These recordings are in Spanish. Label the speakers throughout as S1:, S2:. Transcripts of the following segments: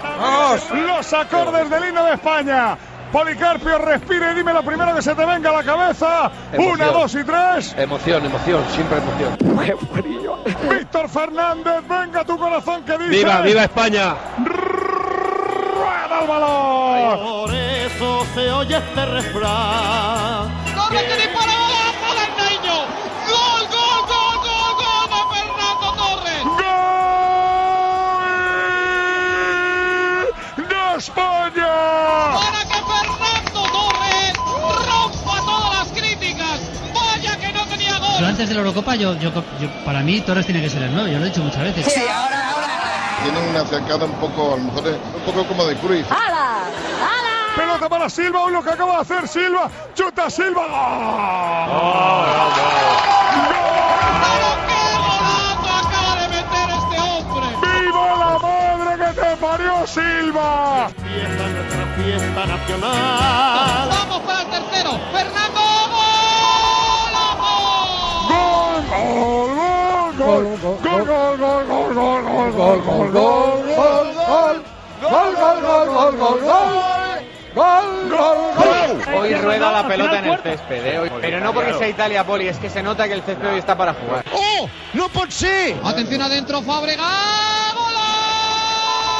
S1: Carlos.
S2: Los acordes del himno de España. Policarpio, respire y dime lo primero que se te venga a la cabeza.
S1: Emoción.
S2: Una, dos y tres.
S1: Emoción, emoción, siempre emoción.
S2: Víctor Fernández, venga tu corazón que dice.
S1: ¡Viva, viva España!
S2: ¡Rueda el balón!
S3: Por eso se oye este refrán.
S4: ¡Corre que dispara bola para el niño! ¡Gol, gol, gol, gol, gol de Fernando Torres!
S2: ¡Gol de España!
S4: Para que Fernando Torres rompa todas las críticas. Vaya que no tenía
S5: Pero
S4: gol.
S5: antes de la Eurocopa, yo, yo, yo- para mí Torres tiene que ser el 9, yo lo he dicho muchas veces.
S6: Tienen una cercada un poco, a lo mejor, un poco como de Cruyff.
S2: Pelota para Silva, uno que acaba de hacer Silva. Chuta Silva. ¡Gol!
S4: ¡Pero qué golazo acaba de meter este hombre!
S2: ¡Viva la madre que te parió Silva!
S3: Fiesta, nuestra fiesta nacional.
S4: ¡Vamos para el tercero! ¡Fernando! ¡Golazo!
S2: ¡Gol! ¡Gol! ¡Gol! ¡Gol! ¡Gol! ¡Gol! ¡Gol! ¡Gol! ¡Gol! ¡Gol! ¡Gol! ¡Gol! ¡Gol! ¡Gol! ¡Gol! ¡Gol! ¡Gol! ¡Gol! ¡Gol! ¡Gol! ¡Gol!
S7: Hoy rueda la pelota en el césped, eh, hoy- pero no porque sea Italia Poli, es que se nota que el césped hoy está para jugar.
S4: ¡Oh! ¡No pot ser! Atención adentro, Fábrega. ¡Golazo!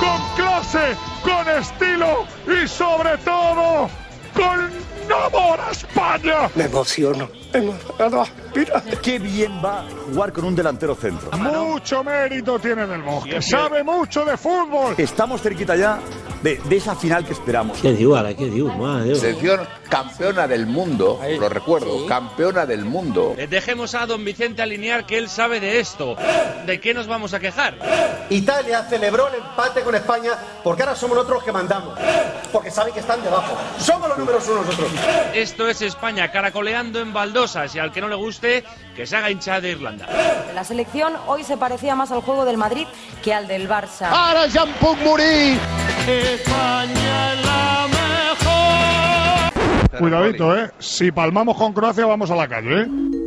S2: Con clase, con estilo y sobre todo con amor a España.
S8: Me emociono. Me emociono. Mira.
S9: Qué bien va jugar con un delantero centro.
S2: Mucho mérito tiene del Bosque. Sabe mucho de fútbol.
S9: Estamos cerquita ya de, de esa final que esperamos.
S10: Qué diu ara, què diu? Mare de Déu.
S6: Selección campeona del mundo, lo recuerdo, campeona del mundo.
S7: Dejemos a don Vicente alinear que él sabe de esto. ¿De qué nos vamos a quejar?
S8: Italia celebró el empate con España porque ahora somos nosotros los que mandamos. Porque saben que están debajo. Somos los números uno nosotros.
S7: Esto es España caracoleando en baldosas y al que no le guste, que se haga hinchada de Irlanda.
S11: La selección hoy se parecía más al juego del Madrid que al del Barça.
S8: Ahora Jean Muri.
S3: España es la mejor.
S2: Cuidadito, eh. Si palmamos con Croacia, vamos a la calle, eh.